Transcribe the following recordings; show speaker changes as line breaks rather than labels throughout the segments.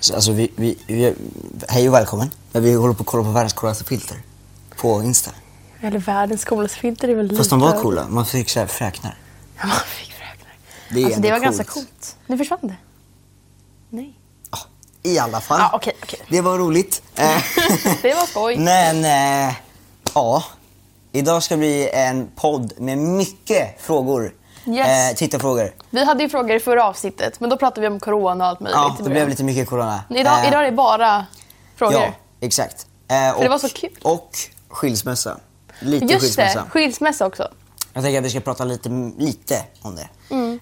Så, alltså, vi, vi, vi, hej och välkommen. Men vi håller på att kolla på världens coolaste filter på Insta.
Mm, Eller världens coolaste filter är väl lite...
Fast de var coola. Man fick så här fräknar.
Ja, man fick fräknar.
Det är
alltså det
ändå
var ganska
coolt.
coolt. Nu försvann det. Nej.
Ja, I alla fall.
Ja, okej, okej.
Det var roligt. Eh,
Det var skoj.
Men, eh, ja. Idag ska bli en podd med mycket frågor. Eh,
Yes.
tittarfrågor.
Vi hade ju frågor i förra avsnittet, men då pratade vi om corona och allt möjligt.
Ja,
i
det
början.
blev lite mycket corona.
Men Idag,
Eh,
idag är det bara frågor.
Ja, exakt. Eh, och,
det var så kul.
Och skilsmässa. Lite
Just
skilsmässa.
det, skilsmässa också.
Jag tänker att vi ska prata lite, lite om det. Eh,
Mm.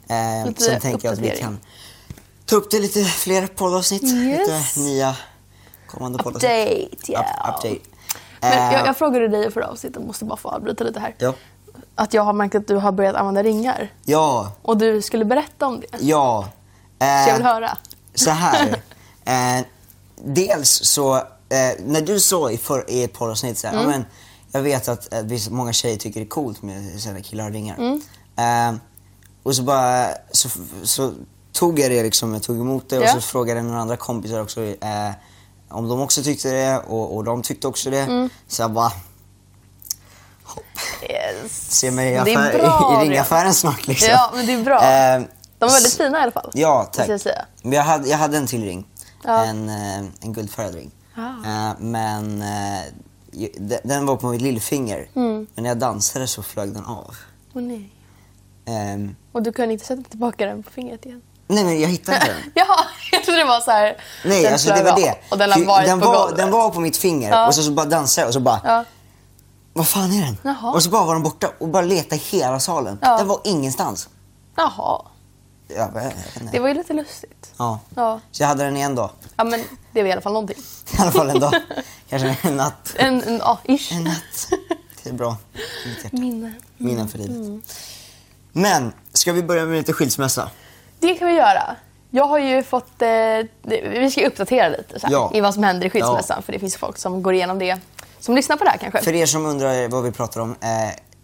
Lite
sen tänker jag att vi
uppdatering.
kan ta upp det lite fler poddavsnitt.
Yes.
Lite nya kommande poddavsnitt.
Update, ja.
Up, update.
Men
Eh,
jag, jag frågade dig i förra avsnittet, måste bara få avbryta lite här.
ja.
Att jag har märkt att du har börjat använda ringar.
ja,
Och du skulle berätta om det. Så
ja.
jag vill
Eh,
höra.
så här. eh, dels så, eh, när du sa i, för, i ett poddavsnitt så här,
Mm.
ja, men jag vet att, att visst, många tjejer tycker det är coolt med sådana killar och ringar.
Mm.
Eh, och så bara, så, så tog jag det liksom, jag tog emot det och
Ja.
så frågade jag några andra kompisar också eh, om de också tyckte det och, och de tyckte också det.
Mm.
Så jag bara,
Yes.
se mig i,
Det är
affär,
bra,
i, i ringaffären snart liksom.
Ja, men det är bra.
Eh,
De var väldigt
s-
fina i alla fall.
Ja,
måste
tack.
Jag säga.
Men jag, hade, jag hade en till ring.
Ja.
En, eh, en guldfärgad ring.
Ah.
Eh, men eh, ju- de- den var på mitt lillfinger.
Mm.
Men när jag dansade så flög den av.
Åh, nej.
Ehm,
Och du kunde inte sätta tillbaka den på fingret igen?
nej, men jag hittade inte den.
Jaha, jag trodde det var så här.
Nej,
den
alltså det
flög
var
av
det.
Och den har
För
varit
den
på
var,
golvet.
Den var på mitt finger
Ja.
och så, så bara dansade jag och så bara,
Ja.
vad fan är den?
Jaha.
Och så bara var den borta och bara letade i hela salen.
Ja.
Den var ingenstans.
Jaha,
Jag bara, jag vet inte.
det var ju lite lustigt.
Ja.
Ja.
Så jag hade den i en dag.
Ja, men det var i alla fall någonting.
I alla fall en dag. Kanske en natt.
En, en ja, ish.
En natt. Det är bra. Mitt hjärta.
Minne.
Minnen för livet.
Mm.
Men, ska vi börja med lite skilsmässa?
Det kan vi göra. Jag har ju fått... Eh, det- vi ska ju uppdatera lite så här,
Ja.
i vad som händer i skilsmässan.
Ja.
För det finns folk som går igenom det. Som lyssnar på det här kanske.
För er som undrar vad vi pratar om, eh,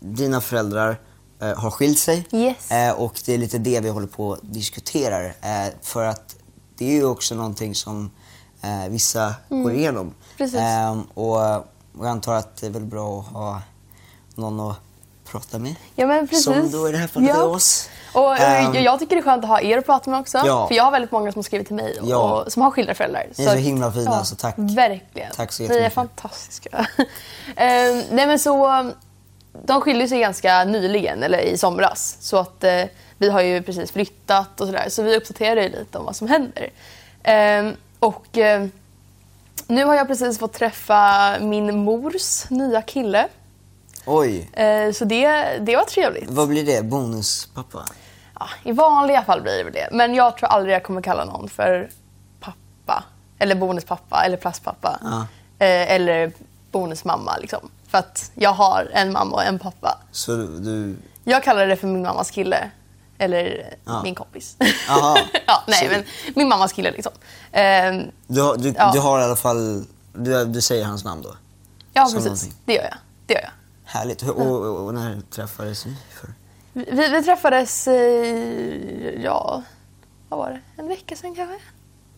dina föräldrar eh, har skilt sig.
Yes.
Eh, och det är lite det vi håller på och diskuterar. Eh, för att det är ju också någonting som eh, vissa går igenom.
Mm. Precis.
Eh, och jag antar att det är väl bra att ha någon att prata med.
Ja, men precis.
Som då i det här fallet är oss.
Och, och
Ehm.
jag tycker det är skönt att ha er att prata med också.
Ja.
För jag har väldigt många som har skrivit till mig och,
Ja.
som har skilda föräldrar.
Ni är så himla fina, så tack.
Verkligen.
Tack så
Ni är
jättemycket.
fantastiska. Ehm, nej men så, de skilde sig ganska nyligen, eller i somras. Så att eh, vi har ju precis flyttat och sådär. Så vi uppdaterar ju lite om vad som händer. Ehm, och eh, nu har jag precis fått träffa min mors nya kille.
Oj,
Ehm, så det, det var trevligt.
vad blir det? Bonuspappa?
Ja, I vanliga fall blir det väl det. Men jag tror aldrig jag kommer kalla någon för pappa. Eller bonuspappa eller plastpappa.
Ja.
Eh, eller bonusmamma. Liksom. För att jag har en mamma och en pappa.
Så du...
Jag kallar det för min mammas kille. Eller
Ja.
min kompis.
Jaha.
ja, nej,
Så-
men min mammas kille liksom. Eh,
Du, har- du,
Ja.
du har i alla fall... Du, du säger hans namn då?
ja,
Som
precis.
någonting.
Det gör jag. Det gör jag.
Härligt. Hur- Och, och, och när träffades ni? För?
Vi, vi träffades i, ja, vad var det? En vecka sedan kanske?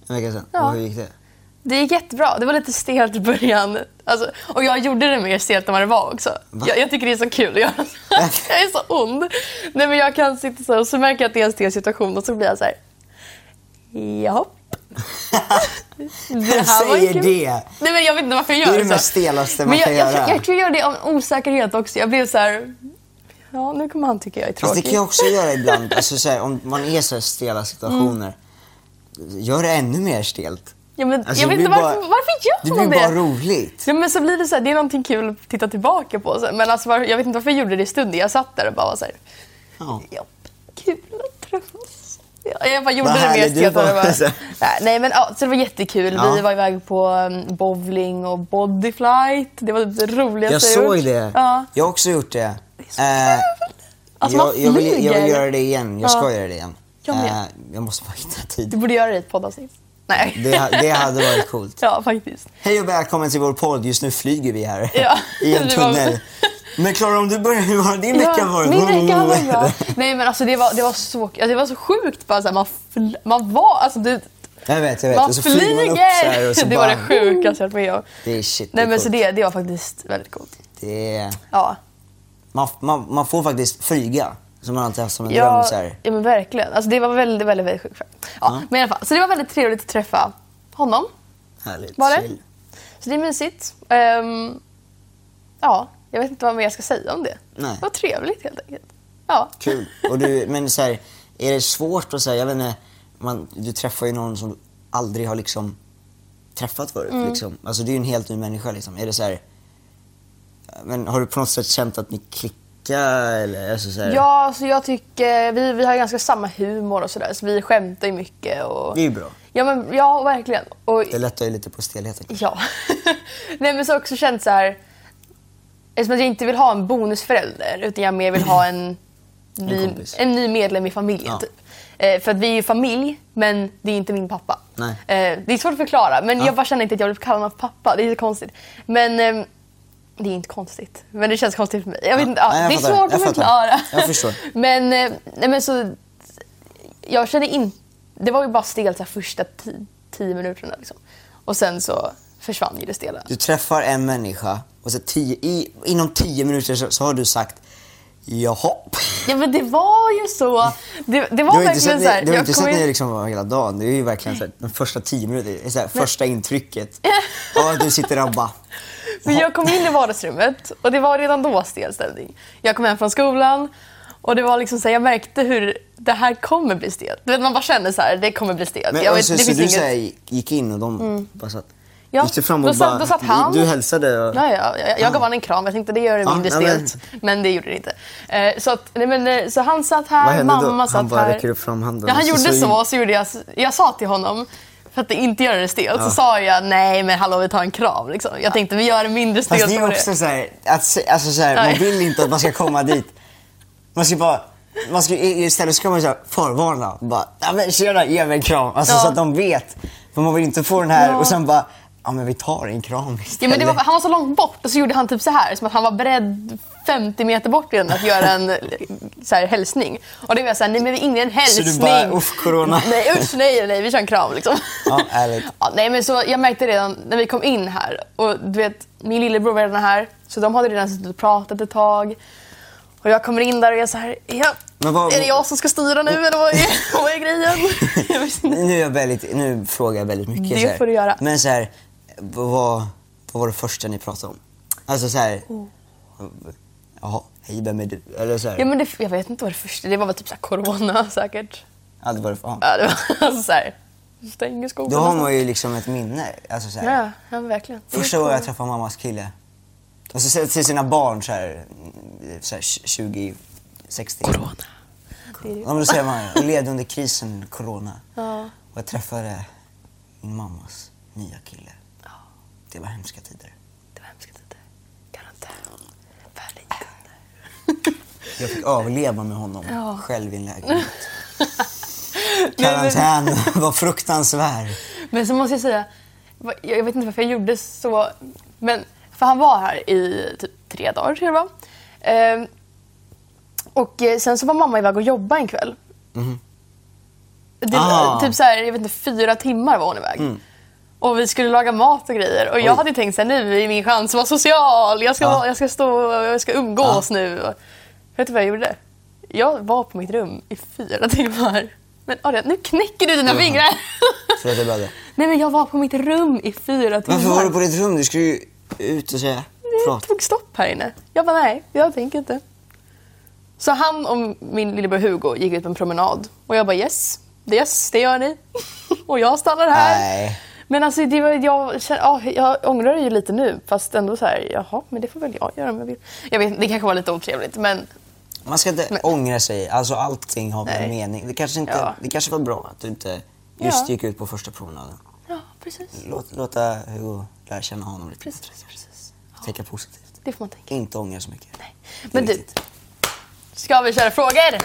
En vecka sedan?
Ja.
Och hur gick det?
Det gick jättebra. Det var lite stelt i början. Alltså, och jag gjorde det mer stelt än vad det var också.
Va?
Jag, jag tycker det är så kul att göra så här. Jag är så ond. Nej, men jag kan sitta så här och så märker jag att det är en stel situation och så blir jag så här... Jahopp. Det här var ju
säger
kul.
det!
Nej, men jag vet inte varför jag gör
Det
så.
är det mest stelaste man
men jag,
kan
jag,
göra.
Jag, tror jag gör det av osäkerhet också. Jag blev så här... Ja, nu kommer han tycka jag är
Fast
tråkig.
det kan jag också göra ibland. Alltså, så här, om man är så här stela situationer, gör det ännu mer stelt.
ja, men,
Alltså,
jag
det
vet inte
blir
varför,
bara-
varför gör
Det
man
blir
det?
bara roligt.
Ja, men så blir det så här, det är någonting kul att titta tillbaka på. Så här. Men alltså, var- jag vet inte varför jag gjorde det i stunden. Jag satt där och bara var så här,
Ja.
ja, kul att träffas. Ja, jag bara gjorde
Vad
det mer
härlig du
stelt. än
var. alltså.
det var. Nej, Nej, men ja, så det var jättekul.
Ja.
Vi var iväg på um, bowling och bodyflight. Det var typ det roligaste
Jag
gjort.
såg det.
Ja.
Jag har också gjort det.
så
Eh,
Alltså,
jag, jag,
man
vill, jag vill
flyger.
göra det igen. Jag ska
Ja.
göra det igen.
Jag med.
Eh, jag måste bara hitta
Du
tid.
borde göra det i ett poddavsnitt. Nej.
Det, ha- det hade varit coolt.
Ja, faktiskt.
Hej och välkommen till vår podd. Just nu flyger vi här
Ja,
i en
det var-
tunnel. Men Klara, om du börjar, hur har din vecka varit?
Min vecka har varit bra. Nej men alltså det var, det var så, alltså, det var så sjukt bara så här, man, fl- man var, alltså det,
Jag vet, jag vet.
Man
Och så flyger man upp så här och så
flyger! Det
bara-
var det sjukaste jag varit med om.
Det är shit, det är
Nej men så
coolt.
det, det var faktiskt väldigt coolt.
Det är...
Ja.
Man, man, man får faktiskt flyga, som man alltid haft som en dröm.
Ja,
Så här.
ja men verkligen. Alltså, det var väldigt, väldigt, väldigt sjukt. Ja, Men i alla fall, så det var väldigt trevligt att träffa honom.
Härligt.
Var det?
chill.
Så det är mysigt. Ehm, ja, jag vet inte vad mer jag ska säga om det.
Nej.
Det var trevligt helt enkelt. Ja.
Kul. Och du, men så här, är det svårt att säga, jag vet inte, man, du träffar ju någon som du aldrig har liksom träffat förut. Liksom. Alltså det är ju en helt ny människa liksom. Är det så här, men har du på något sätt känt att ni klickar eller? Alltså, så här,
Ja, så jag tycker vi, vi har ganska samma humor och sådär. Så vi skämtar ju mycket. Och...
Det är ju bra.
Ja, men, ja verkligen. Och,
Det lättar ju lite på stelheten.
Ja. Nej men så har jag också känt så här. Eftersom att jag inte vill ha en bonusförälder utan jag mer vill ha en, ny, en,
kompis.
ny medlem i familjen.
Ja.
Typ. Eh, för att vi är ju familj men det är inte min pappa.
Nej.
Eh, det är svårt att förklara men
Ja.
jag bara känner inte att jag vill kalla honom pappa. Det är så konstigt. Men ehm, det är inte konstigt. Men det känns konstigt för mig. Jag vet
Ja.
inte, ja,
Nej, jag
det är
fattar.
svårt
Jag
att
fattar.
förklara.
Jag förstår.
men, eh, nej, men så, jag kände inte... Det var ju bara stelt så här första ti- tio minuterna. Liksom. Och sen så försvann ju det stela.
Du träffar en människa och så tio, i, inom tio minuter så, så har du sagt jaha.
Ja men det var ju så. Det, det
Du
var
har inte sett
verkligen så här.
ni- du har
jag
inte sett
kommer
ni
ju-
liksom vara hela dagen. Det är ju verkligen så här, de första tio minuterna, det är så här, första intrycket. Av att du sitter där och bara
Men jag kom in i vardagsrummet och det var redan då stel ställning. Jag kom hem från skolan och det var liksom så här, jag märkte hur det här kommer bli stelt. Du vet, man bara känner så här, det kommer bli stelt.
Men
jag vet,
alltså,
det
så
finns
du
inget... Mm.
så här, gick in och de bara satt?
Ja,
gick du fram och
då satt-
bara,
då satt han.
Du, du hälsade och...
Ja, ja, jag, jag gav honom en kram. Jag tänkte det gör det
Ja,
mindre
ja, men-
stelt. Men det gjorde det inte. Eh, Så, att, nej, men, eh, så han satt
Vad
här,
hände då?
mamma
Han
satt här.
bara räcker upp framhanden.
Ja, han
Så
gjorde
såg
så,
in-
och så gjorde jag, jag sa till honom för att det inte gör det stelt så sa jag nej men hallå vi tar en kram. Liksom. Jag tänkte vi gör det mindre stelt.
Fast det är
än vad
ju också så här, att, se- alltså så här, man
Nej.
vill inte att man ska komma dit. Man ska bara, man ska, istället ska man så här förvarna. Bara, ja men tjena, ge mig en kram. Alltså
Ja.
så att de vet. För man vill inte få den här
Ja.
och sen bara, ja men vi tar en kram istället.
Ja, men det var, han var så långt bort och så gjorde han typ så här som att han var beredd 50 meter bort redan att göra en så här, hälsning. Och det var jag såhär, nej men vi är ingen
Så
hälsning.
du bara, uff corona.
Nej usch nej nej vi kör en kram liksom.
Ja, ärligt.
Ja, nej men så jag märkte redan när vi kom in här och du vet min lillebror var redan här så de hade redan suttit och pratat ett tag. Och jag kommer in där och jag är så här, ja,
Men vad-
är det jag som ska styra nu eller vad är, vad är grejen? Jag visste inte.
nu, är jag väldigt, nu frågar jag väldigt mycket.
Det
så här.
får du göra.
Men så här, vad, vad var det första ni pratade om? Alltså så här, jaha, hej vem är du? Eller så här,
Mm. Ja, men det, jag vet inte vad det första, det var väl typ så här corona säkert.
ja, det var det, ja.
Ja, det var alltså såhär... Stänger skolan.
Då har man ju liksom ett minne. Alltså så här,
Ja, ja men verkligen.
Första gången jag träffade mammas kille. Och så ser till sina barn så här, mm, så här 20, 60. Corona. Ja, men då säger man jag levde under krisen corona.
Ja.
Och jag träffade min mammas nya kille. Det var hemska tider.
Det var hemska tider. Karantän. Världens
Jag fick överleva med honom själv i en lägenhet.
men,
Karantän var fruktansvärd.
men så måste jag säga, vad- jag vet inte varför jag gjorde så, men för han var här i typ tre dagar tror jag det var. Ehm, och eh, sen så var mamma iväg och jobba en kväll. Det,
Mhm. Ah. Mm.
Typ så här, jag vet inte, fyra timmar var hon iväg. Och vi skulle laga mat och grejer. Och jag
Oj. Ah.
hade ju tänkt så här, nu är min chans att vara social. Jag ska,
Ja.
vara- jag ska, stå, jag ska umgås
Ah.
nu. Och, vet du vad jag gjorde? Jag var på mitt rum i fyra timmar. Men Adrian, nu knäcker du dina fingrar.
För att jag blödde.
Nej men jag var på mitt rum i fyra timmar.
Varför var du på ditt rum? Du skulle ju ut och säga
Det
förlåt.
tog stopp här inne. Jag bara, nej, jag tänker inte. Så han och min lillebror Hugo gick ut på en promenad. Och jag bara, yes, yes, det gör ni. och jag stannar här.
Nej.
Men alltså, det var, jag, känner, ja, jag ångrar det ju lite nu, fast ändå så här, jaha, men det får väl jag göra om jag vill. Jag vet, det kanske var lite otrevligt, men
Man ska inte ångra sig. Alltså allting har en
Nej.
mening. Det kanske, inte,
Ja.
det kanske var bra att du inte just
Ja.
gick ut på första promenaden.
ja, precis.
Låt, låta Hugo lära känna honom lite.
Precis, precis.
Tänka positivt.
Det får man tänka.
Inte ångra så mycket.
Nej.
Det är
Men du,
viktigt.
ska vi köra frågor?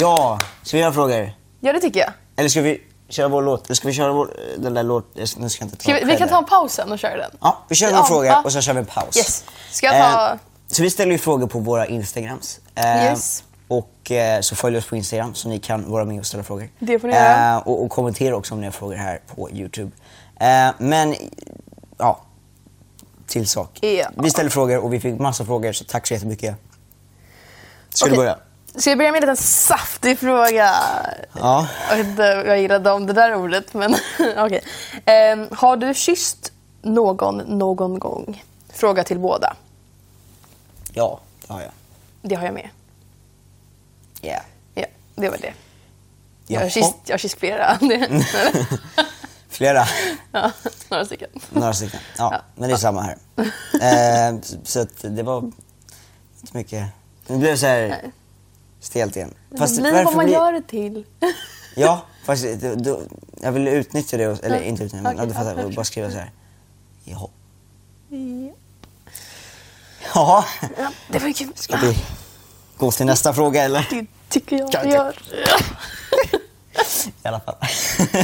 Ja, ska vi göra frågor?
Ja, det tycker jag.
Eller ska vi köra vår låt? Eller ska vi köra vår, den där låt... Nu ska jag inte ta
Ska vi, vi
själv
kan
här.
ta en paus sen och köra den.
Ja, vi kör några
Ja,
frågor
ja.
och så kör vi en paus.
Yes. Ska jag ta-
så vi ställer ju frågor på våra Instagrams. Eh,
Yes.
Och eh, så följ oss på Instagram så ni kan vara med och ställa frågor.
Det får ni göra.
Eh, och, och kommentera också om ni har frågor här på Youtube. Eh, men, ja. Till sak.
Ja.
Vi ställer frågor och vi fick massa frågor så tack så jättemycket. Ska
Okej.
du börja?
Ska jag börja med en liten saftig fråga?
Ja.
Jag vet inte vad jag gillade om det där ordet, men okej. Ehm, har du kysst någon någon gång? Fråga till båda.
Ja, det har jag.
Det har jag med.
Yeah.
Ja, det var det. Jag
Jaha.
har kysst, jag har kysst flera.
Flera.
ja, några stycken.
Några stycken. Ja,
Ja.
men det är samma här. eh, så- så att det var inte mycket. Det blev så här stelt igen.
det blir vad man gör det till.
Ja, fast det- då, jag ville utnyttja det, och- eller
Ja.
inte utnyttja, men
Okej,
ja, du
ja,
fattar,
jag
och bara
förstår.
skriva så här. Jaha. Ja.
Ja, det var ju kul.
Ska vi gå till nästa fråga eller?
Det tycker jag
Kan
vi
jag-
gör.
I alla fall.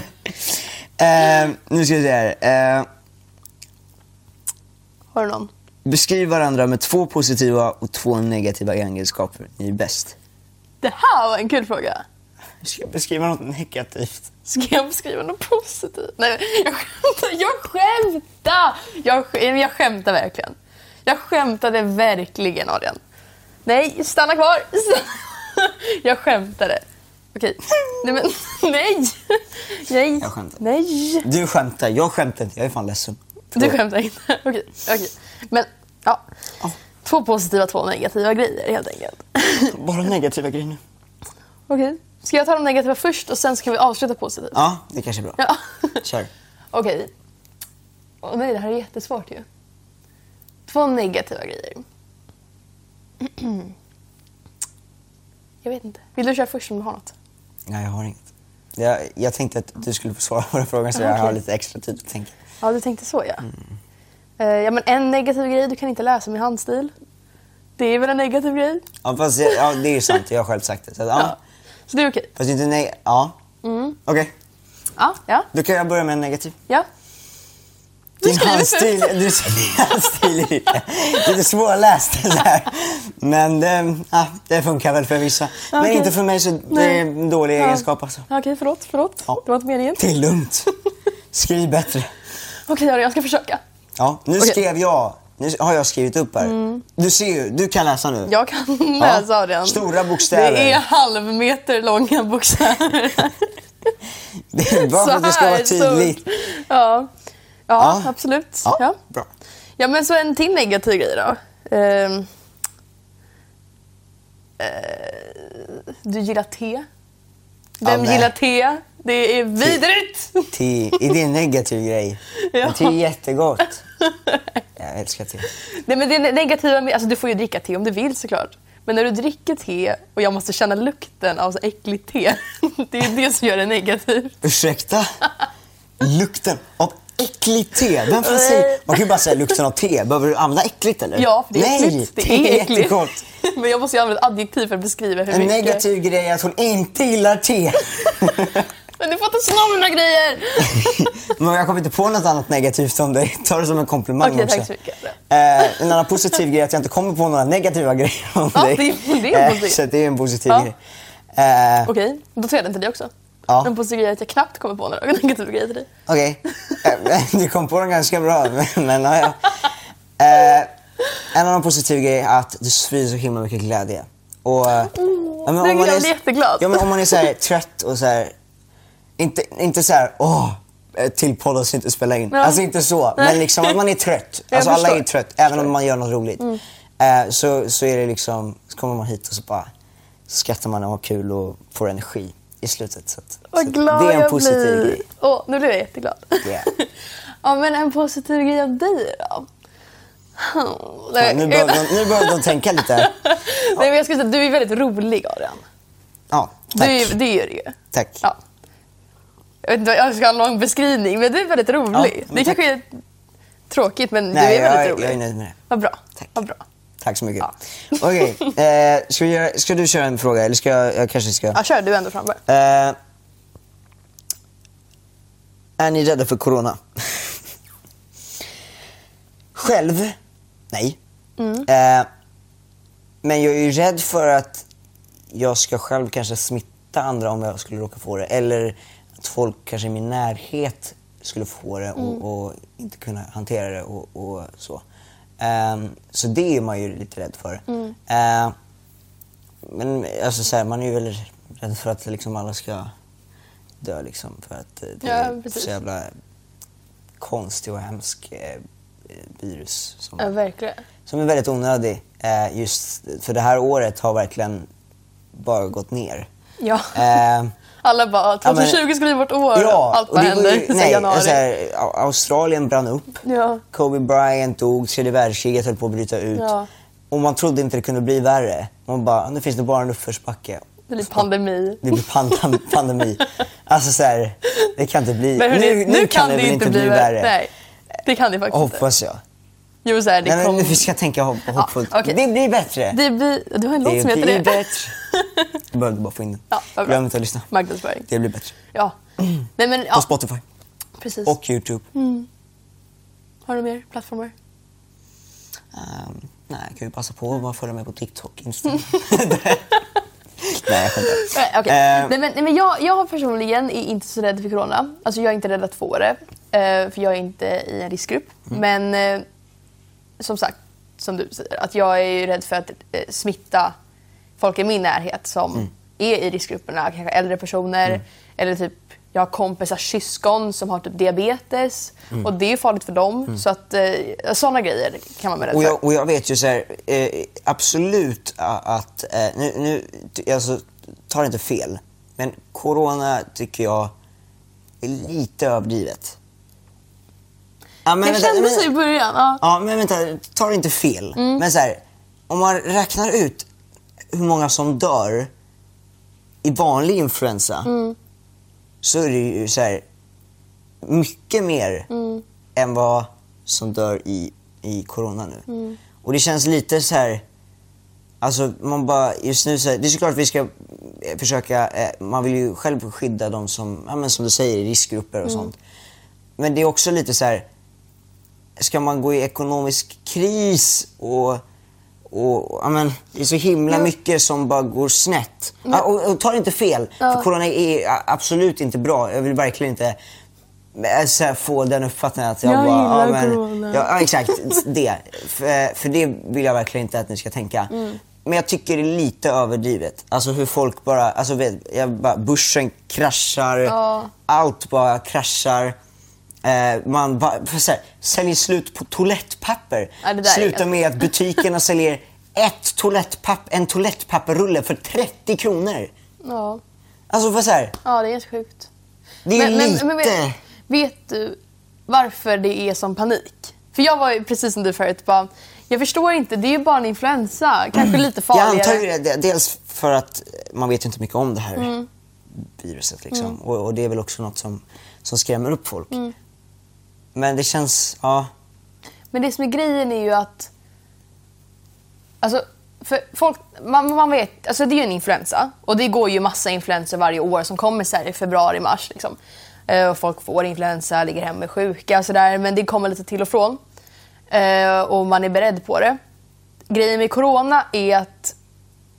eh, nu ska vi se här. Eh,
Har du någon?
beskriv varandra med två positiva och två negativa egenskaper. Ni är bäst.
Det här var en kul fråga.
Ska jag beskriva något negativt?
Ska jag skriva något positivt? Nej, jag skämtar! Jag skämtar, jag, sk- nej, men jag skämtar verkligen. Jag skämtade verkligen, Adrian. Nej, stanna kvar! Stanna- Jag skämtade. Okej. Nej, men nej! Nej!
Jag skämtar.
Nej!
Du skämtar, jag skämtar inte. Jag är fan ledsen.
Du skämtar inte? Okej. okej. Men, ja.
Ja.
Två positiva, två negativa grejer helt enkelt.
Bara negativa grejer nu.
Okej. Ska jag ta de negativa först och sen ska vi avsluta positivt?
Ja, det kanske är bra.
Ja.
Kör.
Okej. Åh nej, det här är jättesvårt ju. Två negativa grejer. Jag vet inte. Vill du köra först om du har något?
Nej, jag har inget. Jag, jag tänkte att du skulle få svara på den frågan så
Ja,
jag har
okej.
lite extra tid att tänka.
Ja, du tänkte så ja.
Mm.
Eh, ja, men en negativ grej, du kan inte läsa min handstil. Det är väl en negativ grej?
Ja, fast, jag- ja, det är ju sant. Jag har själv sagt det. Så, att, ja.
Ja. Mm. Så det är okej.
Fast inte nej. Ja. Okej,
Ja, ja,
då kan jag börja med en negativ.
ja.
Din
skriver
handstil, du, din handstil är lite- lite svårläst. Så här. Men det, ja, det funkar väl för vissa. Men
Okej.
inte för mig, så det är en dålig egenskap. Alltså.
Ja, Okej, förlåt, förlåt.
Ja.
Det var inte meningen.
Det är lugnt. Skriv bättre.
Okej, Adrian, jag ska försöka.
Ja, nu
Okej. Mm.
skrev jag. Nu har jag skrivit upp här. Du ser ju, du kan läsa nu.
Jag kan läsa Adrian.
Stora bokstäver.
Det är halvmeter långa bokstäver.
Det är bara för att det ska vara
Så här
tydligt.
stort. Ja. Ja,
Ja.
absolut.
Ja,
Ja.
bra.
ja, men så en till negativ grej då. Ehm. Eh, du gillar te. Vem
nej.
gillar te? Det är vidrigt!
Te, är det en negativ grej?
Ja.
Men te är jättegott. Jag älskar te.
Nej, men det negativa med, alltså du får ju dricka te om du vill såklart. Men när du dricker te och jag måste känna lukten av så äckligt te. Det är det som gör det negativt.
Ursäkta? Lukten av äckligt te? Vem fan säger... Man kan ju bara säga lukten av te. Behöver du använda äckligt eller?
Ja, för det är äckligt.
Nej, te är jättegott.
Men jag måste ju använda ett adjektiv för att beskriva hur
En
mycket...
negativ grej är att hon inte gillar te.
Men du får inte sno mina grejer!
Men jag kommer inte på något annat negativt om dig. Ta det som en komplimang
Okej,
också.
tack så mycket.
Eh, en annan positiv grej är att jag inte kommer på några negativa grejer om
Ja,
dig.
det är- det är en
Eh,
positiv.
Så att det är en positiv
Ja.
grej. Eh,
Okej, då tar jag den till dig också.
Ja.
Den positiva grejen är att jag knappt kommer på några negativa grejer till dig.
Okej. Eh, Du kom på den ganska bra, men- men ja, ja. Eh, En annan positiv grej är att du sprider så himla mycket glädje. Och, eh, ja,
det gör mig jätteglad.
Ja, men om man är så här, trött och så här, inte, inte så här, åh, eh, till poddavsnitt inte spela in.
Ja.
Alltså inte så, men
Nej.
liksom att man är trött.
Jag
Alltså alla är
förstår. Mm.
trött, även om man gör något roligt. Eh, så, så är det liksom, så kommer man hit och så bara skrattar man och har kul och får energi i slutet. Så, att, så
Vad
att
glad
det är en
jag
positiv
blir.
grej.
Åh, nu blev jag jätteglad.
Yeah.
ja, men en positiv grej av dig då? Hmm,
Ja,
Nej,
nu, behöver de, nu behöver de tänka lite.
Nej, men jag skulle säga att du är väldigt rolig, Adrian.
Ja,
Du,
tack.
är- det är du ju.
tack.
Ja. Jag vet inte, jag ska ha en lång beskrivning, men du är väldigt rolig.
Ja, men
det
tack.
kanske är tråkigt, men
Nej,
du är väldigt
jag,
rolig.
jag är nöjd med det.
Vad bra.
Tack.
Vad bra.
Tack så mycket.
Ja.
Okej, eh, ska, vi göra- ska du köra en fråga? Eller ska jag, jag kanske ska...
Ja, kör du ändå framför.
Eh, är ni rädda för corona? Själv?
Mm.
Nej. Eh, men jag är ju rädd för att jag ska själv kanske smitta andra om jag skulle råka få det. Eller att folk kanske i min närhet skulle få det
Mm.
och, och inte kunna hantera det och, och så. Ehm, så det är man ju lite rädd för.
Mm.
Ehm, men alltså, så här, man är ju väl rädd för att liksom, alla ska dö liksom, för att eh, det
Ja,
är
precis.
så jävla konstig och hemsk eh, eh, virus som
Ja, verkligen.
som är väldigt onödig. Eh, just för det här året har verkligen bara gått ner.
Ja.
Eh,
Alla bara,
men-
2020 ska bli vårt år. Allt
och
bara
det går ju-
händer sen
nej,
januari.
Så här, Au- Australien brann upp.
Ja.
Kobe Bryant dog, tredje världskriget höll på att bryta ut.
Ja.
Och man trodde inte det kunde bli värre. Man bara, nu finns det bara en uppförsbacke.
Det blir pandemi.
Det blir pan- pandemi. alltså så här, det kan inte bli...
Men hörni,
nu, nu kan det väl inte bli värre?
Nej, det kan det faktiskt inte.
Hoppas jag.
Jo, så här, det
Nej, men
kom...
nu ska jag tänka hopp- hoppfullt.
okej.
Det blir bättre.
Det blir... Du har en låt
Det
som heter
blir
det.
bättre. Jag behövde bara få in den.
Ja, vad bra.
Glöm inte att lyssna.
Marknadsföring.
Det blir bättre.
Ja. Nej, men,
På
ja
Spotify
precis. Mm.
och YouTube.
Har du mer plattformar?
Ehm, nej, jag kan ju passa på att bara följa mig på TikTok, Instagram.
Mm.
nej, jag skämtar.
Nej, okej.
Eh.
nej, men, nej, men jag, jag personligen är inte så rädd för corona. Alltså jag är inte rädd att få det. eh, För jag är inte i en riskgrupp.
Mm.
Men eh, som sagt, som du säger, att jag är ju rädd för att eh, smitta folk i min närhet som
Mm.
är i riskgrupperna. Kanske äldre personer eller typ jag har kompisar, syskon som har typ diabetes
Mm.
och det är farligt för dem. Så att eh, sådana grejer kan man vara rädd
Och
för.
jag, och jag vet ju så här, eh, absolut a- att, eh, nu, nu ty- alltså, tar inte fel, men corona tycker jag är lite överdrivet. Ja, men
Det
vänta,
kändes
men-
så i början. Ja.
Ja, men vänta, tar inte fel. Men så här, om man räknar ut hur många som dör i vanlig influensa så är det ju så här, mycket mer än vad som dör i, i corona nu. Och det känns lite så här... Alltså man bara, just nu så här, det är såklart vi ska eh, försöka, eh, man vill ju själv skydda de som, ja, men som du säger, i riskgrupper och sånt. Men det är också lite så här, ska man gå i ekonomisk kris och, och ja, men, det är så himla
Jo.
mycket som bara går snett. Ja, och, och ta det inte fel, för corona är a- absolut inte bra. Jag vill verkligen inte eh, så här, få den uppfattningen att jag,
Jag
bara...
gillar
ja, men,
corona.
Ja, Ja, exakt. Det. För, för det vill jag verkligen inte att ni ska tänka. Men jag tycker det är lite överdrivet. Alltså hur folk bara, alltså vet, jag bara, börsen kraschar,
Ja.
allt bara kraschar. Eh, man bara, för så här, säljer slut på toalettpapper.
Ja, det där är
Sluta
ganska-
med att butikerna säljer ett toalettpapp, en toalettpapperrulle för 30 kronor.
Ja.
Alltså för så här,
Ja, det är ganska sjukt.
Det är lite-
vet, vet du varför det är sån panik? För jag var ju precis som du förut bara, jag förstår inte, det är ju bara en influensa, kanske lite
Mm. jag
farligare.
antar ju det. Dels för att man vet ju inte mycket om det här
Mm.
viruset. Liksom. Och, och det är väl också något som, som skrämmer upp folk.
Mm.
Men det känns, ja.
Men det som är grejen är ju att... Alltså, för folk, man, man vet, alltså det är ju en influensa och det går ju massa influensor varje år som kommer så här i februari, mars. Liksom. Eh, och folk får influensa, ligger hemma med sjuka och sådär men det kommer lite till och från. Eh, och man är beredd på det. Grejen med corona är att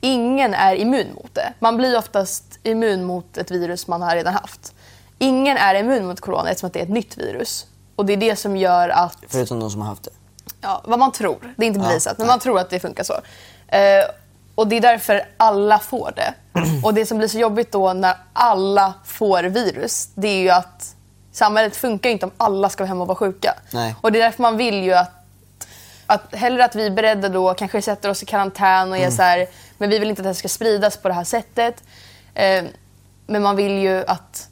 ingen är immun mot det. Man blir oftast immun mot ett virus man har redan haft. Ingen är immun mot corona eftersom att det är ett nytt virus. Och det är det som gör att
Förutom de som har haft det.
ja, vad man tror. Det är inte
Ja.
bevisat, men man tror att det funkar så. Eh, och det är därför alla får det. Och det som blir så jobbigt då när alla får virus, det är ju att samhället funkar ju inte om alla ska vara hemma och vara sjuka.
Nej.
Och det är därför man vill ju att att hellre att vi är beredda då, kanske sätter oss i karantän och
Mm.
är så här, men vi vill inte att det här ska spridas på det här sättet. Eh, men man vill ju att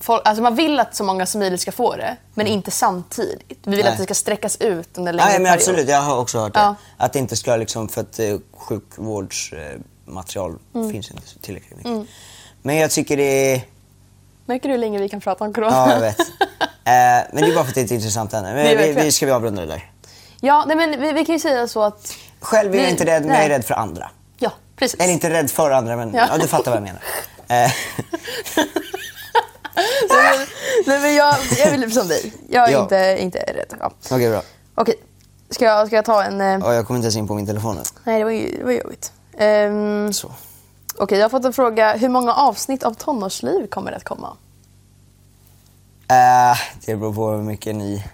folk, alltså man vill att så många som möjligt ska få det, men inte samtidigt. Vi vill
Mm. Nej.
att det ska sträckas ut under en längre
Nej men
period.
absolut, jag har också hört det.
Ja.
Att det inte ska liksom, för att eh,
Mm.
sjukvårdsmaterial finns inte så tillräckligt mycket. Men jag tycker det är,
Märker du hur länge vi kan prata om corona?
ja jag vet. eh, men det är bara för att det är ett intressant ämne.
Det är
Men vi,
verkligen.
vi ska vi avrunda det där.
ja, nej men vi, vi kan ju säga så att,
Själv är jag
Vi-
inte rädd, men
nej.
jag är rädd för andra.
ja precis.
Eller inte rädd för andra, men
Ja.
ja. du fattar vad jag menar. Eh,
Nej men jag, jag vill som dig. Jag är
Ja.
inte, inte rädd. Ja.
Okej bra.
Okej, ska jag, ska jag ta en... eh,
Ja, jag kommer inte ens in på min telefon nu.
Nej det var ju det var jobbigt. Ehm,
Så.
Okej, jag har fått en fråga. Hur många avsnitt av Tonårsliv kommer det att komma?
Eh, det beror på hur mycket ni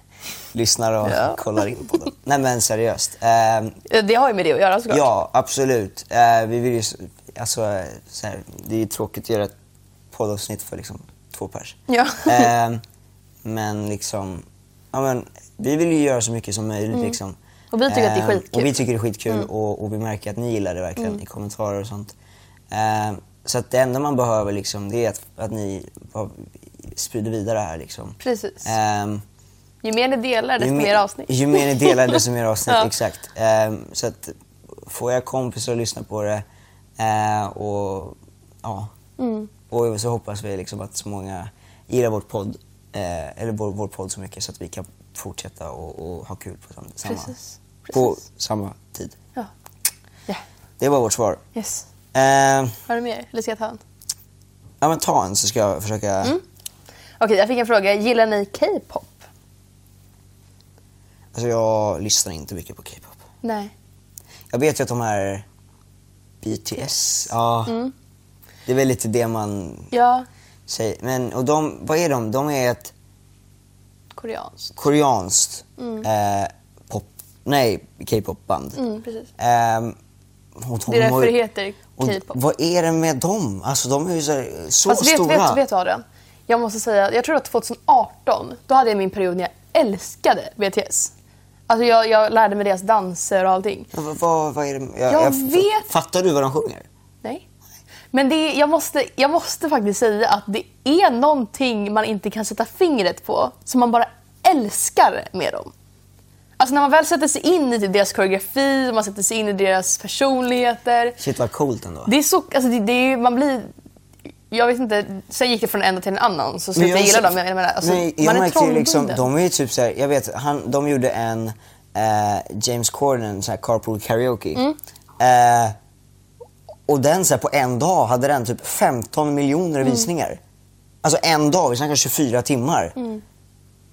lyssnar och
Ja.
kollar in på den. Nej men seriöst. Eh,
Eh, Det har ju med det att göra såklart.
ja, absolut. Eh, vi vill ju, s- alltså, eh, så här, det är ju tråkigt att göra ett poddavsnitt för liksom två pers.
Ja.
Eh, men liksom, ja, men, vi vill ju göra så mycket som möjligt. Liksom.
Mm. Och vi tycker att det är
Eh,
skitkul. Mm.
Och vi tycker det är skitkul och, och vi märker att ni gillar det verkligen i kommentarer och sånt. Eh, så att det enda man behöver liksom, det är att, att ni har- sprider vidare det här. Liksom.
Precis.
Ehm,
Ju mer ni delar desto
ju
mer avsnitt.
Ju mer ni delar desto mer avsnitt,
Ja.
exakt. Ehm, så att får jag kompisar att lyssna på det eh, och ja.
Mm.
Och så hoppas vi liksom att så många gillar vår podd, eh, eller vår, vår podd så mycket så att vi kan fortsätta och, och ha kul på sam- samma,
Precis.
På
Precis.
samma tid.
Ja. Ja.
Det var vårt svar.
Yes.
Ehm,
Har du mer? Eller ska jag ta en?
ja men ta en så ska jag försöka.
Mm. Okej, jag fick en fråga. Gillar ni K-pop?
Alltså jag lyssnar inte mycket på K-pop.
Nej.
Jag vet ju att de här BTS, ja.
Mm.
Det är väl lite det man
Ja,
säger. Men, och de, vad är de? De är ett
koreanskt.
koreanskt eh, pop, nej, K-pop-band.
Mm, precis.
Ehm, och de
Det är
har ju-
därför det heter
och
K-pop.
Vad är det med dem? Alltså de är ju så, här- så
Fast Alltså, vet,
stora.
vet, vet du Adrian? Jag måste säga, jag tror att 2018, då hade jag min period när jag älskade BTS. Alltså jag, jag lärde mig deras danser och allting.
Ja, Vad, vad, vad är det? Jag,
Jag
f-
vet-
Fattar du vad de sjunger?
Nej. Men det är, jag, måste, jag måste faktiskt säga att det är någonting man inte kan sätta fingret på som man bara älskar med dem. Alltså när man väl sätter sig in i typ deras koreografi, man sätter sig in i deras personligheter.
Shit vad coolt ändå.
Det är så, alltså det, det är, man blir... Jag vet inte, sen gick det från en till en annan så slutade Typ, jag, gilla dem. Jag menar, alltså,
Nej, jag
man är
märkte ju liksom,
trollbunden.
de är ju typ så här, jag vet, han, de gjorde en eh, James Corden, så här carpool karaoke.
Mm.
Eh, och den så här, på en dag hade den typ 15 miljoner
Mm.
visningar. Alltså en dag, vi snackar 24 timmar.
Mm,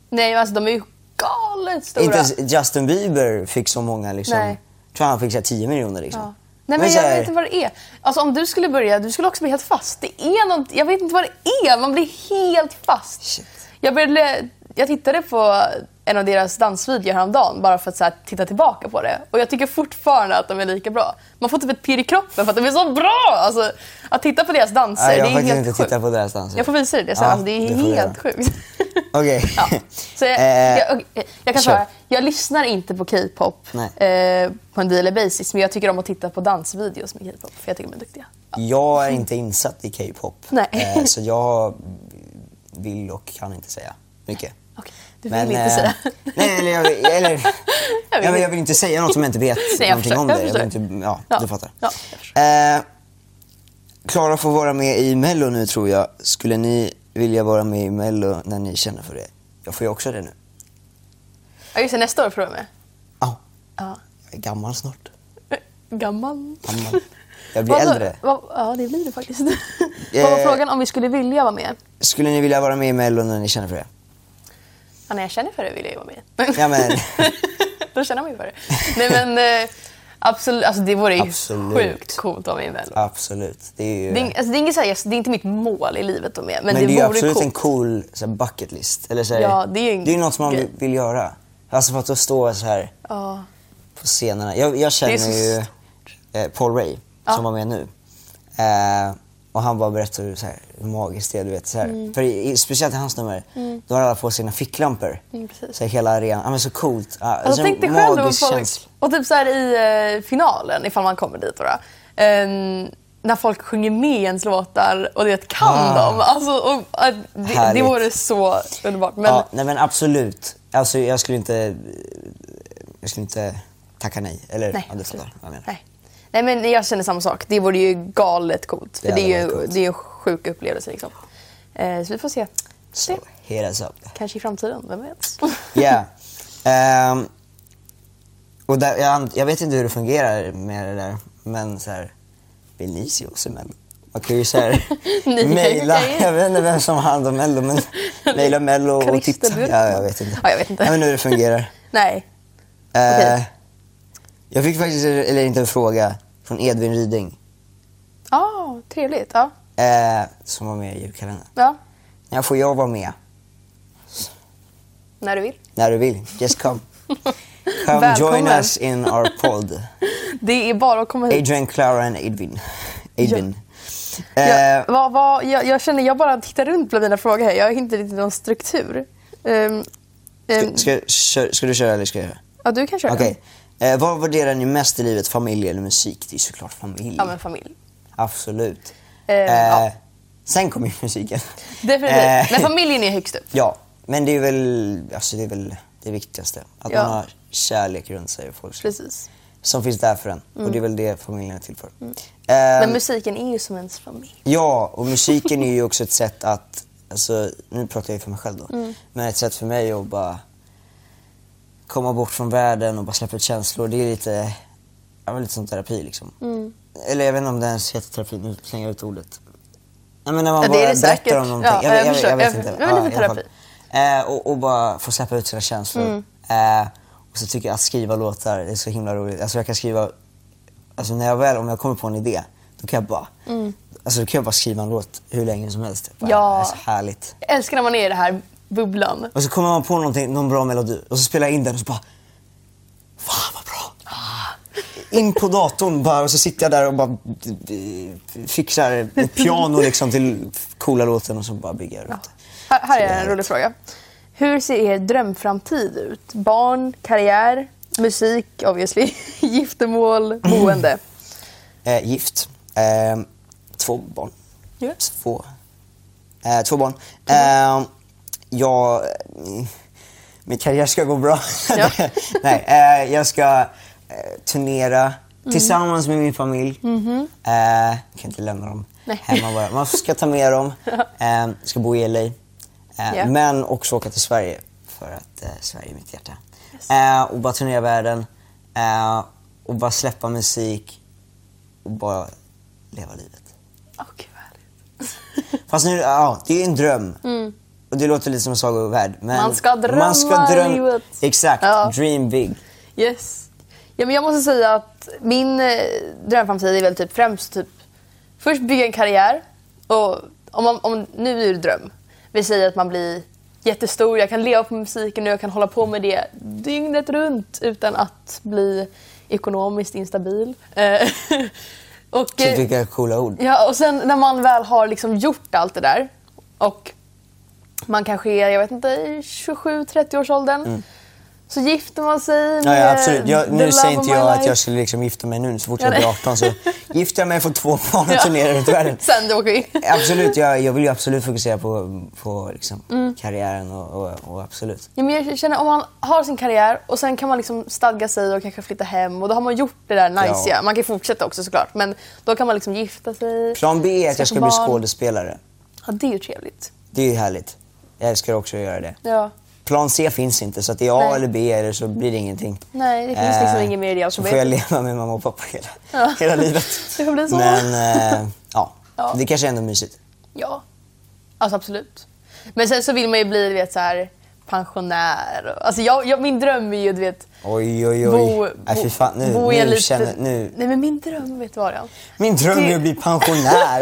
Nej alltså de är ju galet stora.
Inte ens Justin Bieber fick så många liksom.
Nej.
Jag tror han fick så här, 10 miljoner liksom.
Ja. Nej men
så här-
jag vet inte vad det är. Alltså om du skulle börja, du skulle också bli helt fast. Det är något, jag vet inte vad det är, man blir helt fast.
Shit.
Jag, började, jag tittade på en av deras dansvideor häromdagen bara för att så här, titta tillbaka på det. Och jag tycker fortfarande att de är lika bra. Man får typ ett pirr i kroppen för att de är så bra! Alltså, att titta på deras danser,
Nej,
det
jag
är
har faktiskt
helt
inte
sjukt.
tittat på deras danser.
Jag får visa dig det sen,
Ja,
alltså, det är
det får du
helt sjukt.
Okej.
ja. Så jag,
Eh,
jag, okej, jag kan
kör.
svara, jag lyssnar inte på K-pop
Nej.
eh, på en daily basis men jag tycker om att titta på dansvideos med K-pop för jag tycker de är duktiga.
Jag är inte insatt i K-pop.
Nej.
Eh, Så jag vill och kan inte säga mycket. eh,
Okej, du vill inte säga.
Nej, eller jag, vill- eller,
Jag
jag,
vill
vill,
inte.
jag vill inte säga något som jag inte vet
jag
någonting
förstår,
om
jag
det. Jag vill
förstår.
inte, ja,
Ja,
du fattar.
ja, jag
eh, Klara får vara med i Mello nu tror jag. Skulle ni vilja vara med i Mello när ni känner för det? Jag får ju också det nu. Eh.
Ja just det, nästa år får du vara med.
Ja,
Ja. Eh,
jag är gammal snart.
Gammal.
Gammal. Jag blir
Vadå?
äldre.
Vad- Ja det blir du faktiskt. Vad var
Eh.
frågan om vi skulle vilja vara med?
Skulle ni vilja vara med i Mello när ni känner för det?
Ja, när jag känner för det vill jag ju vara med.
Ja, men-
Då känner man ju för det. Nej men eh, absolut, alltså det vore ju
Absolut.
sjukt coolt att vara med i en väl.
Absolut. Det är ju...
Det är, ing- alltså, det, är inget, så här- yes, det är inte mitt mål i livet att vara med, men,
Men det, är ju
vore
absolut
coolt.
en cool så här, bucket list. Eller så här,
Ja, det är ju en
det är något som man
grej.
vill, vill göra. Alltså för att då stå så här
Ja.
på scenerna. Jag, jag känner
så
ju eh, Paul Ray
Ja.
som var med nu. Eh, och han bara berättade hur, så här, hur magiskt det är. Du vet, så här.
Mm.
För i, i, speciellt i hans nummer, då har alla på sina ficklampor.
Mm, precis.
så här, hela arenan. Ja, men så coolt. Ja,
Alltså,
så en
tänk dig själv
magisk
vad folk...
känsla.
Och typ så här i eh, finalen, ifall man kommer dit då. då ehm, när folk sjunger med i ens låtar och det kan
Ah.
dem. Alltså, och, att det, det
Härligt.
vore så underbart. Men
Ja, nej men absolut. Alltså jag skulle inte, jag skulle inte tacka nej. Eller
nej,
ja, du
absolut.
fattar vad jag menar.
nej. nej, men jag känner samma sak. Det vore ju galet coolt. För
Det
det,
hade
är, ju,
varit coolt.
det är ju en sjuk upplevelse liksom. Eh, så vi får se.
Så,
se.
hit us up.
Kanske i framtiden, vem vet?
Ja. Ehm, och där, jag, an- jag vet inte hur det fungerar med det där, men så här, vill ni se oss i Mello? Man kan ju så här,
Ni
mejla,
kan ju-
jag vet inte vem som har hand om Mello, men mejla Mello och
Christer
titta.
Björkman.
Ja, jag vet inte.
Ja, jag vet inte.
Nej, men hur det fungerar.
nej.
Eh,
Okej.
Jag fick faktiskt, eller inte en fråga, från Edvin Ryding.
Ja, trevligt. Ja.
eh, som var med i julkalendern.
ja,
När får jag vara med?
när du vill.
När du vill. Just come. Come
Välkommen.
join us in our pod.
Det är bara att komma hit.
Adrian, Clara and Edvin. Edvin.
Jag,
Eh,
vad, vad, jag, jag känner, jag bara tittar runt bland mina frågor här. Jag har inte riktigt någon struktur. Um, um,
ska, ska, ska du köra eller ska jag köra?
ja, du kan köra.
Okej. Eh, vad värderar ni mest i livet? Familj eller musik? Det är såklart familj.
Ja, men familj.
Absolut.
Eh, ja.
Sen kommer ju musiken.
Definitivt.
Eh,
Men familjen är högst upp.
ja, men det är väl, alltså det, är väl det viktigaste. Att
Ja.
man har kärlek runt sig och folk som,
Precis. Mm.
som finns där för en. Och det är väl det familjen är till för.
Men
Eh,
musiken är ju som ens familj.
ja, och musiken är ju också ett sätt att, alltså, nu pratar jag ju för mig själv då,
Mm.
men ett sätt för mig att bara komma bort från världen och bara släppa ut känslor. Det är lite, ja, men lite som terapi liksom.
Mm.
Eller jag vet inte om det ens heter terapi, nu slänger jag ut ordet. Nej, men när man
Ja, det
bara
är det
berättar
säkert.
om någonting.
Ja,
jag,
jag
jag, jag,
förstår.
jag vet
Jag-
inte.
jag vet inte
i
terapi. Mm.
alla fall. Eh, och, och bara få släppa ut sina känslor. Eh, och så tycker jag att skriva låtar är så himla roligt. Alltså jag kan skriva, alltså när jag väl, om jag kommer på en idé, då kan jag bara, alltså då kan jag bara skriva en låt hur länge som helst. Bara,
Ja.
Det är så härligt.
Jag älskar när man är i den här bubblan.
Och så kommer man på någonting, någon bra melodi och så spelar jag in den och så bara Fan vad bra! In på datorn bara och så sitter jag där och bara eh, fixar ett piano liksom till coola låten och så bara bygger jag runt det.
Här, här
Så det
är
här
en
är-
rolig fråga. Hur ser er drömframtid ut? Barn, karriär, musik obviously, giftermål, boende.
Eh, gift. Eh, två barn.
Ja.
Två. Eh, två barn. Eh, jag... Min karriär ska gå bra.
Ja.
Nej, eh, jag ska eh, turnera tillsammans med min familj. Eh, jag kan inte lämna dem
Nej.
hemma bara. Man ska ta med dem. Eh, ska bo i LA. Eh,
Ja.
Men också åka till Sverige för att eh, Sverige är mitt hjärta. Eh, och bara turnera världen. Eh, och bara släppa musik och bara leva livet.
Åh, gud, vad härligt.
Fast nu, ja, det är en dröm. Och det låter lite som en sagovärld. Men
Mm. Man ska drömma
man ska dröm-
livet.
Exakt,
Ja.
dream big.
Yes. Ja, men jag måste säga att min eh, drömframtid är väl typ främst typ, först bygga en karriär. Och om man, om, nu är det dröm. Vi säger att man blir jättestor, jag kan leva på musiken och jag kan hålla på med det dygnet runt utan att bli ekonomiskt instabil. Eh, och,
Typ
eh,
vilka coola ord.
Ja, och sen när man väl har liksom gjort allt det där och man kanske är, jag vet inte, i 27-30-årsåldern. Så gifter man sig
Mm. Ja,
med
ja, absolut. Jag,
the
nu
love
säger
of
inte
my
jag att
life.
jag skulle liksom gifta mig nu. Så fort jag
Ja,
blir
nej.
18 så gifter jag mig, får två barn och
Ja.
turnerar runt världen.
Sen du åker in.
Absolut, jag, jag vill ju absolut fokusera på, på liksom,
Mm.
karriären och, och, och absolut.
Ja, men jag känner om man har sin karriär och sen kan man liksom stadga sig och kanske flytta hem och då har man gjort det där najsiga.
Ja.
Man kan fortsätta också såklart men då kan man liksom gifta sig.
Plan B är att jag
skaffa
ska bli
barn.
skådespelare.
Ja, det är ju trevligt.
Det är ju härligt. Jag älskar också att göra det.
Ja.
Plan C finns inte, så att det är A
Nej.
eller B eller så blir det ingenting. Eh,
Nej, det finns liksom inget mer i det
Så får jag
alfabetet.
leva med mamma och pappa hela,
Ja.
hela livet.
Det får bli så.
Men eh, ja.
Ja.
det kanske är ändå mysigt.
Ja, alltså absolut. Men sen så vill man ju bli du vet, så här, pensionär. Alltså jag, jag, min dröm är ju du vet,
Oj, oj, oj.
bo,
Nej, fy fan. Nu,
bo i
nu
en liten-
känner nu.
Nej men min dröm vet du vad det är?
Min dröm är att bli pensionär.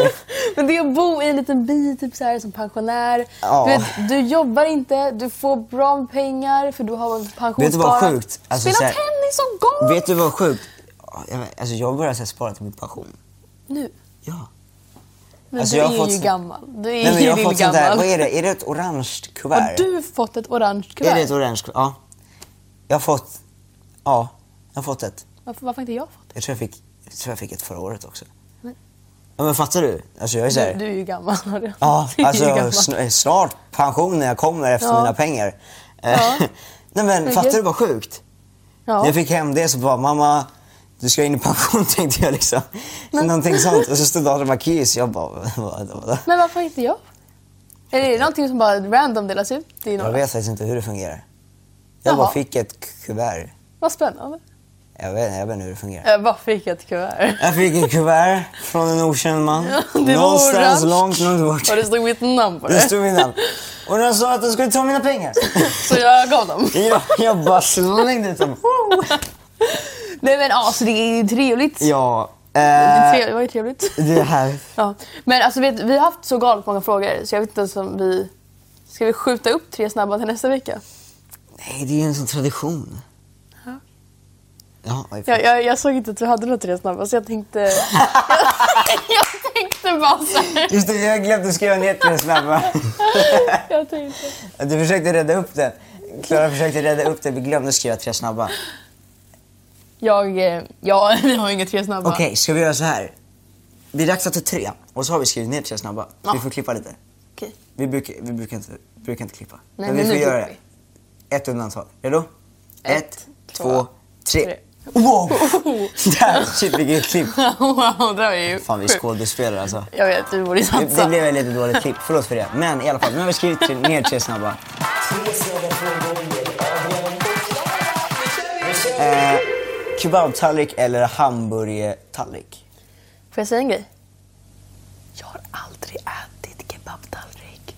Men det är att bo i en liten by typ så här, som pensionär.
Ja.
Du, vet, du jobbar inte, du får bra med pengar för du har pensionssparat.
Vet du vad sjukt? Alltså,
Spela
så här-
tennis och golf!
Vet du vad sjukt? Ja, jag vet- Alltså, jag börjar så här spara till min pension.
Nu.
Ja.
Men
Alltså,
du
jag
är
har fått
ju
så-
gammal. Du är
Nej, men
ju
jag har
din
fått sånt där,
gammal.
vad är det? Är det ett orange kuvert?
Har du fått ett orange kuvert?
Är det ett orange kuvert? Ja. Jag har fått, ja, jag har fått ett.
Varför, varför har inte jag fått
Jag tror jag fick, jag tror jag fick ett förra året också.
Men-
Ja, men fattar du? Alltså jag är så
det?
här,
Du, du är ju gammal.
Ja,
Du är ju
alltså
gammal.
sn- snart pension när jag kommer efter
Ja.
mina pengar. Eh,
Ja.
Nej men fattar du vad sjukt?
Ja.
När jag fick hem det så bara, mamma du ska in i pension tänkte jag liksom. Någonting sånt. Och så stod Adam Akis jag bara, vad, vad, vad?
Men varför inte jag? Är det någonting som bara random delas ut i
Jag
några?
vet faktiskt inte hur det fungerar. Jag bara
Jaha.
fick ett k- kuvert.
Vad spännande.
Jag vet, jag vet inte hur det fungerar.
Jag bara fick ett kuvert.
Jag fick ett kuvert från en okänd man.
Ja, det var
Någonstans
orange.
långt, långt bort.
Och det stod mitt namn på
Det
det.
stod mitt namn. Och den sa att den skulle ta mina pengar.
Så jag gav dem.
Jag, jag bara slängde ut dem.
Nej men alltså det är ju trevligt.
Ja, eh,
Det, tre- det var ju trevligt.
Det här...
Ja. Men alltså, vet, vi har haft så galet många frågor så jag vet inte ens om vi... Ska vi skjuta upp tre snabba till nästa vecka?
Nej, det är ju en sån tradition.
Ja.
Ja, oj,
Jag, jag, jag såg inte att vi hade några tre snabba så jag tänkte... jag, tänkte bara så här.
Just det, jag glömde skriva ner till den snabba.
Jag tänkte...
Du försökte rädda upp den. Klara försökte rädda upp den, vi glömde skriva tre snabba.
Jag... eh, Ja, vi har inga tre snabba.
Okej, ska vi göra så här? Det är dags att ta tre och så har vi skrivit ner tre snabba. Vi
Ja.
får klippa lite.
Okej.
Vi brukar, vi brukar, inte, brukar inte klippa.
Nej,
men vi
men
får
nu
göra det.
klipper
Ett undantag. Redo? Ett, två, tre.
tre.
Wow! Där, shit vilket klipp.
wow, det var ju
Fan vi är
sjukt.
skådespelare alltså.
Jag vet, vi borde
Det,
satsa.
det blev ett lite dåligt klipp, förlåt för det. Men i alla fall, nu har vi skrivit tre, ner tre snabba. Eh, Kebabtallrik eller hamburgertallrik?
Får jag säga en grej? Jag har aldrig ätit kebabtallrik.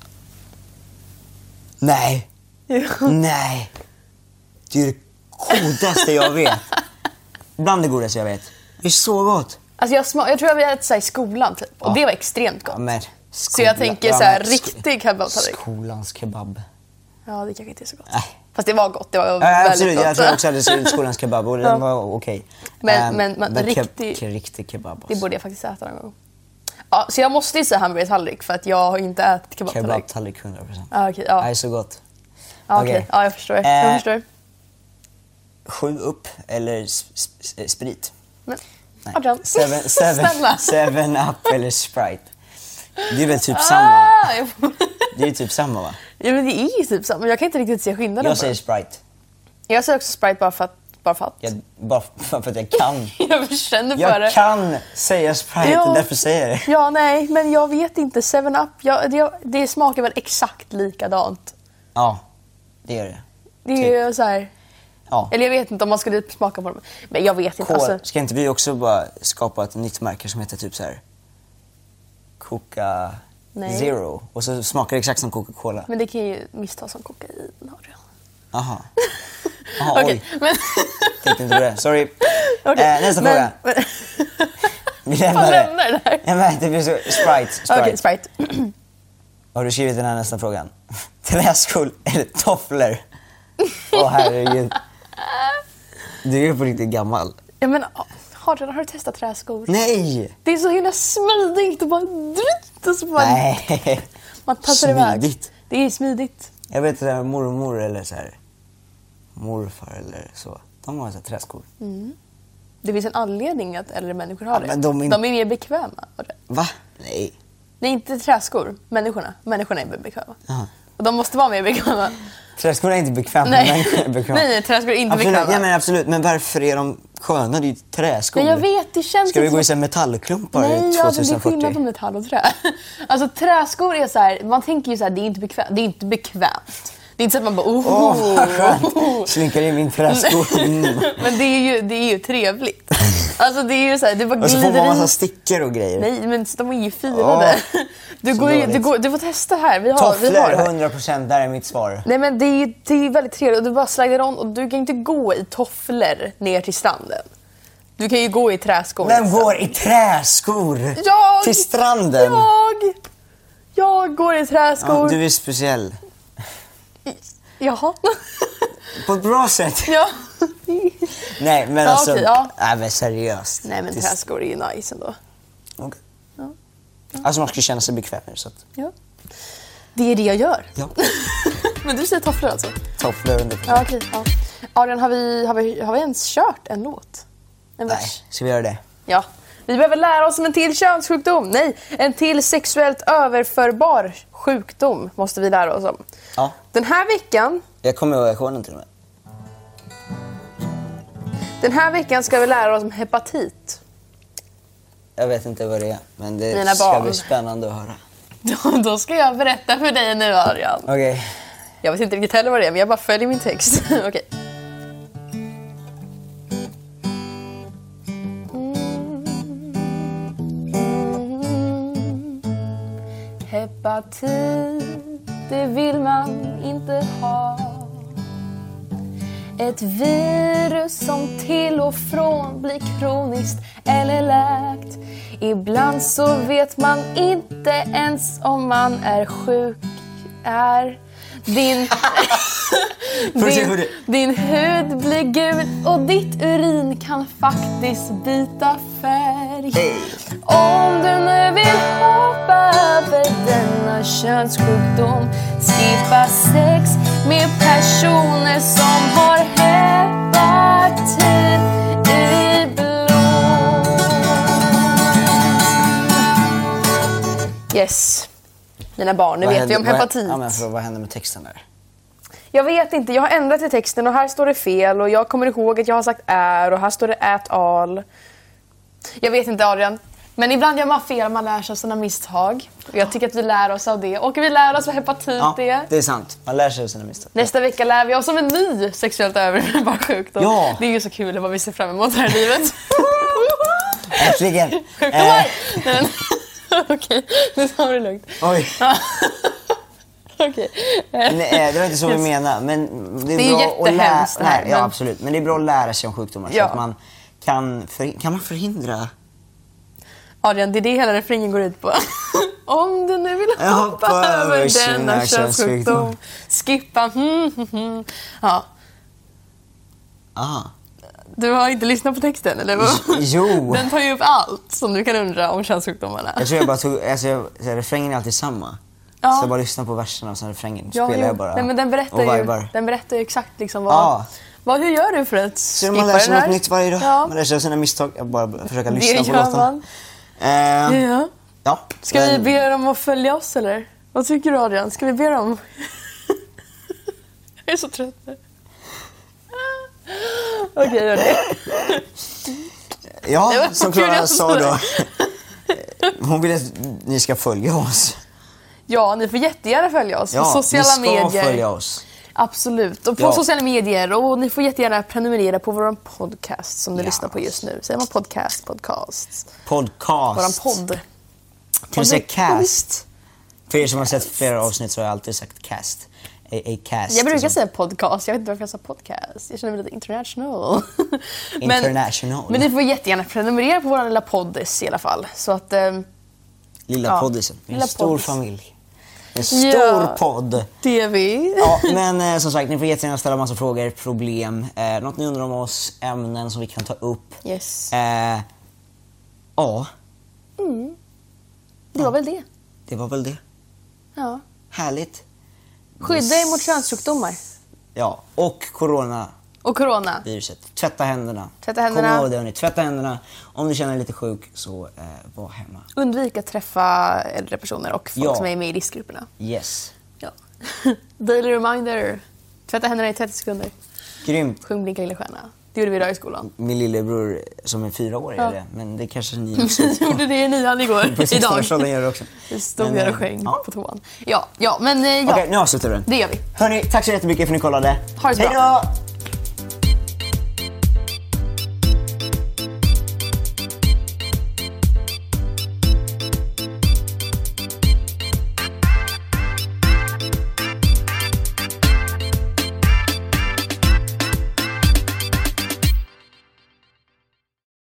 Nej,
Mm.
nej. Det är det godaste jag vet. Bland det godaste jag vet. Det är så gott.
alltså jag, sma- jag tror jag vi ätit så här i skolan typ. Och
Ja.
det var extremt gott.
Ja, men,
Så jag tänker
skola-
så här,
ja, men, sk-
riktig kebabtallrik.
Skolans kebab.
Ja, det kanske inte är så gott.
Nej.
Fast det var gott. Det var
Ja,
väldigt
absolut,
gott.
jag tror också att det ser ut skolans kebab och
Ja.
den var okej.
Men-
Ehm,
men- men
ke-
riktig-
ke- riktig kebab
Det
alltså.
borde jag faktiskt äta någon gång. Ja, så jag måste ju säga hamburgertallrik för att jag har inte ätit kebabtallrik.
Kebabtallrik 100%.
Ja, Ah, okej, ja.
Det är så gott.
Ja, okej.
okej.
ja, jag förstår.
Eh,
Jag förstår.
Sju upp eller s- s- s- eh, sprit?
Men,
Nej.
Adrian.
Seven, seven,
Snälla.
seven up eller sprite? Det är väl typ samma?
Ah, jag får-
Det är ju typ samma va?
ja, men det är ju typ samma. Jag kan inte riktigt se skillnaden. bara.
Jag säger sprite.
jag säger också Sprite bara för att. Bara för att. Jag,
Jag, bara för att jag kan.
känner för det.
Jag kan säga sprite,
Ja.
det är därför säger jag det.
Ja, nej, men jag vet inte. Seven up jag, det, det smakar väl exakt likadant.
Ja, det gör det.
Det är
Typ.
ju så här...
Ja.
Eller jag vet inte om man skulle smaka på dem. Men jag vet inte.
Kol.
Alltså,
Ska inte vi också bara skapa ett nytt märke som heter typ så här Coca
Nej.
Zero och så smakar det exakt som Coca-Cola?
men det kan ju misstas som kokain. Adrian.
Jaha. Jaha,
Okej,
oj.
men...
Tänkte inte på det. Sorry.
okej,
Eh, nästa
men-
fråga.
men-
Vi lämnar
Fan,
det.
lämna det där.
Nej, men det blir så... Sprite. Sprite.
Okej, Sprite.
Har du skrivit den här nästa frågan? Träskor eller tofflor? Åh herregud. Du är på riktigt gammal.
Ja, men, Adrian, har du testat träskor?
Nej!
Det är så himla smidigt och bara drygt och så bara...
Nej.
Man tassar iväg.
Smidigt.
Det är smidigt.
Jag vet sådär mormor eller så här, morfar eller så. De har så här träskor.
Det finns en anledning att äldre människor har
Ja,
det.
men de är
är
inte-
mer bekväma. av det.
Va? Nej.
Nej, inte träskor. Människorna. Människorna är mer bekväma.
Jaha.
Och de måste vara mer bekväma.
Träskor är inte bekväma.
Nej,
människor är
nej,
bekväma.
nej träskor är inte
absolut,
bekväma.
ja, men absolut, men varför är de sköna? Det är ju träskor.
Men jag vet, det känns
Ska vi
inte
gå i
som-
så här metallklumpar
Nej, ja, det är
2040?
skillnad på metall och trä. Alltså träskor är så här, man tänker ju så här, det är inte bekvämt. Det är inte bekvämt. Det är inte så att man bara oh.
Åh, vad skönt! Slinkar in min träsko. Mm.
Men det är ju, det är ju trevligt. Alltså det är ju så här, det bara
Och så får
glider
man massa
in.
stickor och grejer.
Nej, men de är ju firade.
Åh,
du,
så
går ju, du,
dåligt.
går, du får testa här. Vi har, vi har det
Tofflor,
här.
100 procent. Där är mitt svar.
Nej men det är ju det är ju väldigt trevligt. Och Du bara slajdar om och du kan ju inte gå i tofflor ner till stranden. Du kan ju gå i träskor.
Vem går i träskor?
Jag!
Till stranden?
Jag! Jag går i
Ja,
träskor.
du är speciell.
Jaha.
På ett bra sätt.
ja.
Nej men
Ja,
alltså,
okej, ja.
nej men seriöst.
Nej men
Det-
träskor är ju nice ändå.
Okej. Alltså man ska känna sig bekväm med det, så att
Ja. Det är det jag gör.
ja,
Men du säger tofflor alltså?
tofflor under.
Ja okej. Ja. Adrian, har vi, har, vi, har vi ens kört en låt? En
Nej,
vers?
ska vi göra det?
Ja. Vi behöver lära oss om en till könssjukdom. Nej, en till sexuellt överförbar sjukdom måste vi lära oss om.
Ja.
Den här veckan,
Jag kommer ihåg ackorden till och med.
den här veckan ska vi lära oss om hepatit.
Jag vet inte vad det är, men det
Mina
ska
barn.
bli spännande att höra.
Då, då ska jag berätta för dig nu Adrian.
Okej.
Jag vet inte riktigt heller vad det är, men jag bara följer min text. Okej. Hepatit, det vill man inte ha. Ett virus som till och från blir kroniskt eller läkt. Ibland så vet man inte ens om man är sjuk. Är din...
Får se hur
din,
det-
din hud blir gul och ditt urin kan faktiskt byta färg. Om du nu vill hoppa över denna könssjukdom Skippa sex med personer som har hepatit i blod Yes. Mina barn, nu
Vad
vet vi
händer-
om
vad-
hepatit.
Ja, men för, vad händer med texten där?
Jag vet inte, jag har ändrat i texten och här står det fel och jag kommer ihåg att jag har sagt är och här står det ät all. Jag vet inte Adrian, men ibland gör man fel, man lär sig av sina misstag. Och jag tycker att vi lär oss av det och vi lär oss vad hepatit
Ja,
är.
det är sant. Man lär sig av sina misstag.
Nästa vecka lär vi oss om en ny sexuellt överförbar sjukdom.
Ja.
Det är ju så kul vad vi ser fram emot här i livet.
Äntligen! Eh.
Sjukdomar! Nej, men- Okej, nu tar vi det lugnt.
oj,
Okej.
nej, eh, det var inte så vi menade. Men det är,
Det är ju
bra att lära,
jättehemskt det här,
nej, ja,
men-
absolut. Men det är bra att lära sig om sjukdomar så
Ja.
att man kan, för, kan man förhindra
Adrian, det är det hela refrängen går ut på. Om du nu vill
Jag
hoppa
hoppar
över
över
denna
denna
könssjukdom,
könssjukdom.
skippa mm, mm, mm. Ja,
Ah.
Du har inte lyssnat på texten, eller? vad?
Jo.
Den tar ju upp allt som du kan undra om könssjukdomarna.
Jag tror jag bara tog, alltså, jag, så här, refrängen är alltid samma.
Ja.
Så jag bara lyssnar på verserna och sen refrängen
Ja,
spelar
jo.
jag bara.
Nej, men den,
och
berättar ju,
vibar.
den berättar ju exakt liksom vad,
Ja.
vad... Hur gör du för att
Så
skippa
man lär sig
den här?
något nytt varje dag.
Ja.
Man lär sig av sina misstag. Jag bara bara försöker
Det
lyssna på
gör
låtarna.
man.
Eh,
Ja.
ja.
Ska vi
men-
be dem att följa oss, eller? Vad tycker du, Adrian? Ska vi be dem? jag är så trött nu. Okej, gör det. Det
Ja,
var
som
kul
Klara
att
sa
höra.
då. Hon vill att ni ska följa oss.
Ja, ni får jättegärna följa oss
Ja,
på sociala
ni ska
medier.
följa oss.
Absolut. Och på
Ja.
sociala medier. Och ni får jättegärna prenumerera på vår podcast som ni
Ja.
lyssnar på just nu. Säger man podcast? Podcast?
Podcast.
Våran podd.
Kan du säga
Podd-
cast? För er som har sett flera avsnitt så har jag alltid sagt cast. A, a cast.
Jag brukar
liksom.
säga podcast. Jag vet inte varför jag sa podcast. Jag känner mig lite international.
International.
Men, men ni får jättegärna prenumerera på vår lilla poddis i alla fall. Så att... ehm,
Lilla
ja,
poddisen. En
lilla
stor
poddis.
familj. En stor
Ja.
podd.
det är vi.
Ja, men eh, som sagt, ni får jättegärna ställa massa frågor, problem, eh, något ni undrar om oss, ämnen som vi kan ta upp.
Yes.
Eh, ja,
Det var väl det.
det var väl det.
Ja.
Härligt.
Skydda er mot könssjukdomar.
Ja, och coronaviruset.
Och corona.
Tvätta händerna.
Tvätta händerna.
Kom ihåg det hörni, tvätta händerna. Om du känner dig lite sjuk så eh, var hemma.
Undvik att träffa äldre personer och folk
Ja.
som är med i riskgrupperna.
Yes.
Ja. Daily reminder. Tvätta händerna i 30 sekunder.
Grymt.
Sjung Blinka lilla stjärna. Det gjorde vi idag i skolan.
Min lillebror eh, som är fyra år
Ja.
är det, men det kanske ni också
Vi gjorde det i nian igår.
på
idag.
sextonårsåldern gör det också.
Vi stod
Men,
där och
eh,
sjöng
ja.
på toan. Ja, ja men eh, ja.
Okej, nu avslutar vi den.
Det gör vi.
Hörni, tack så jättemycket för att ni kollade.
Ha det så
Hej
bra.
då!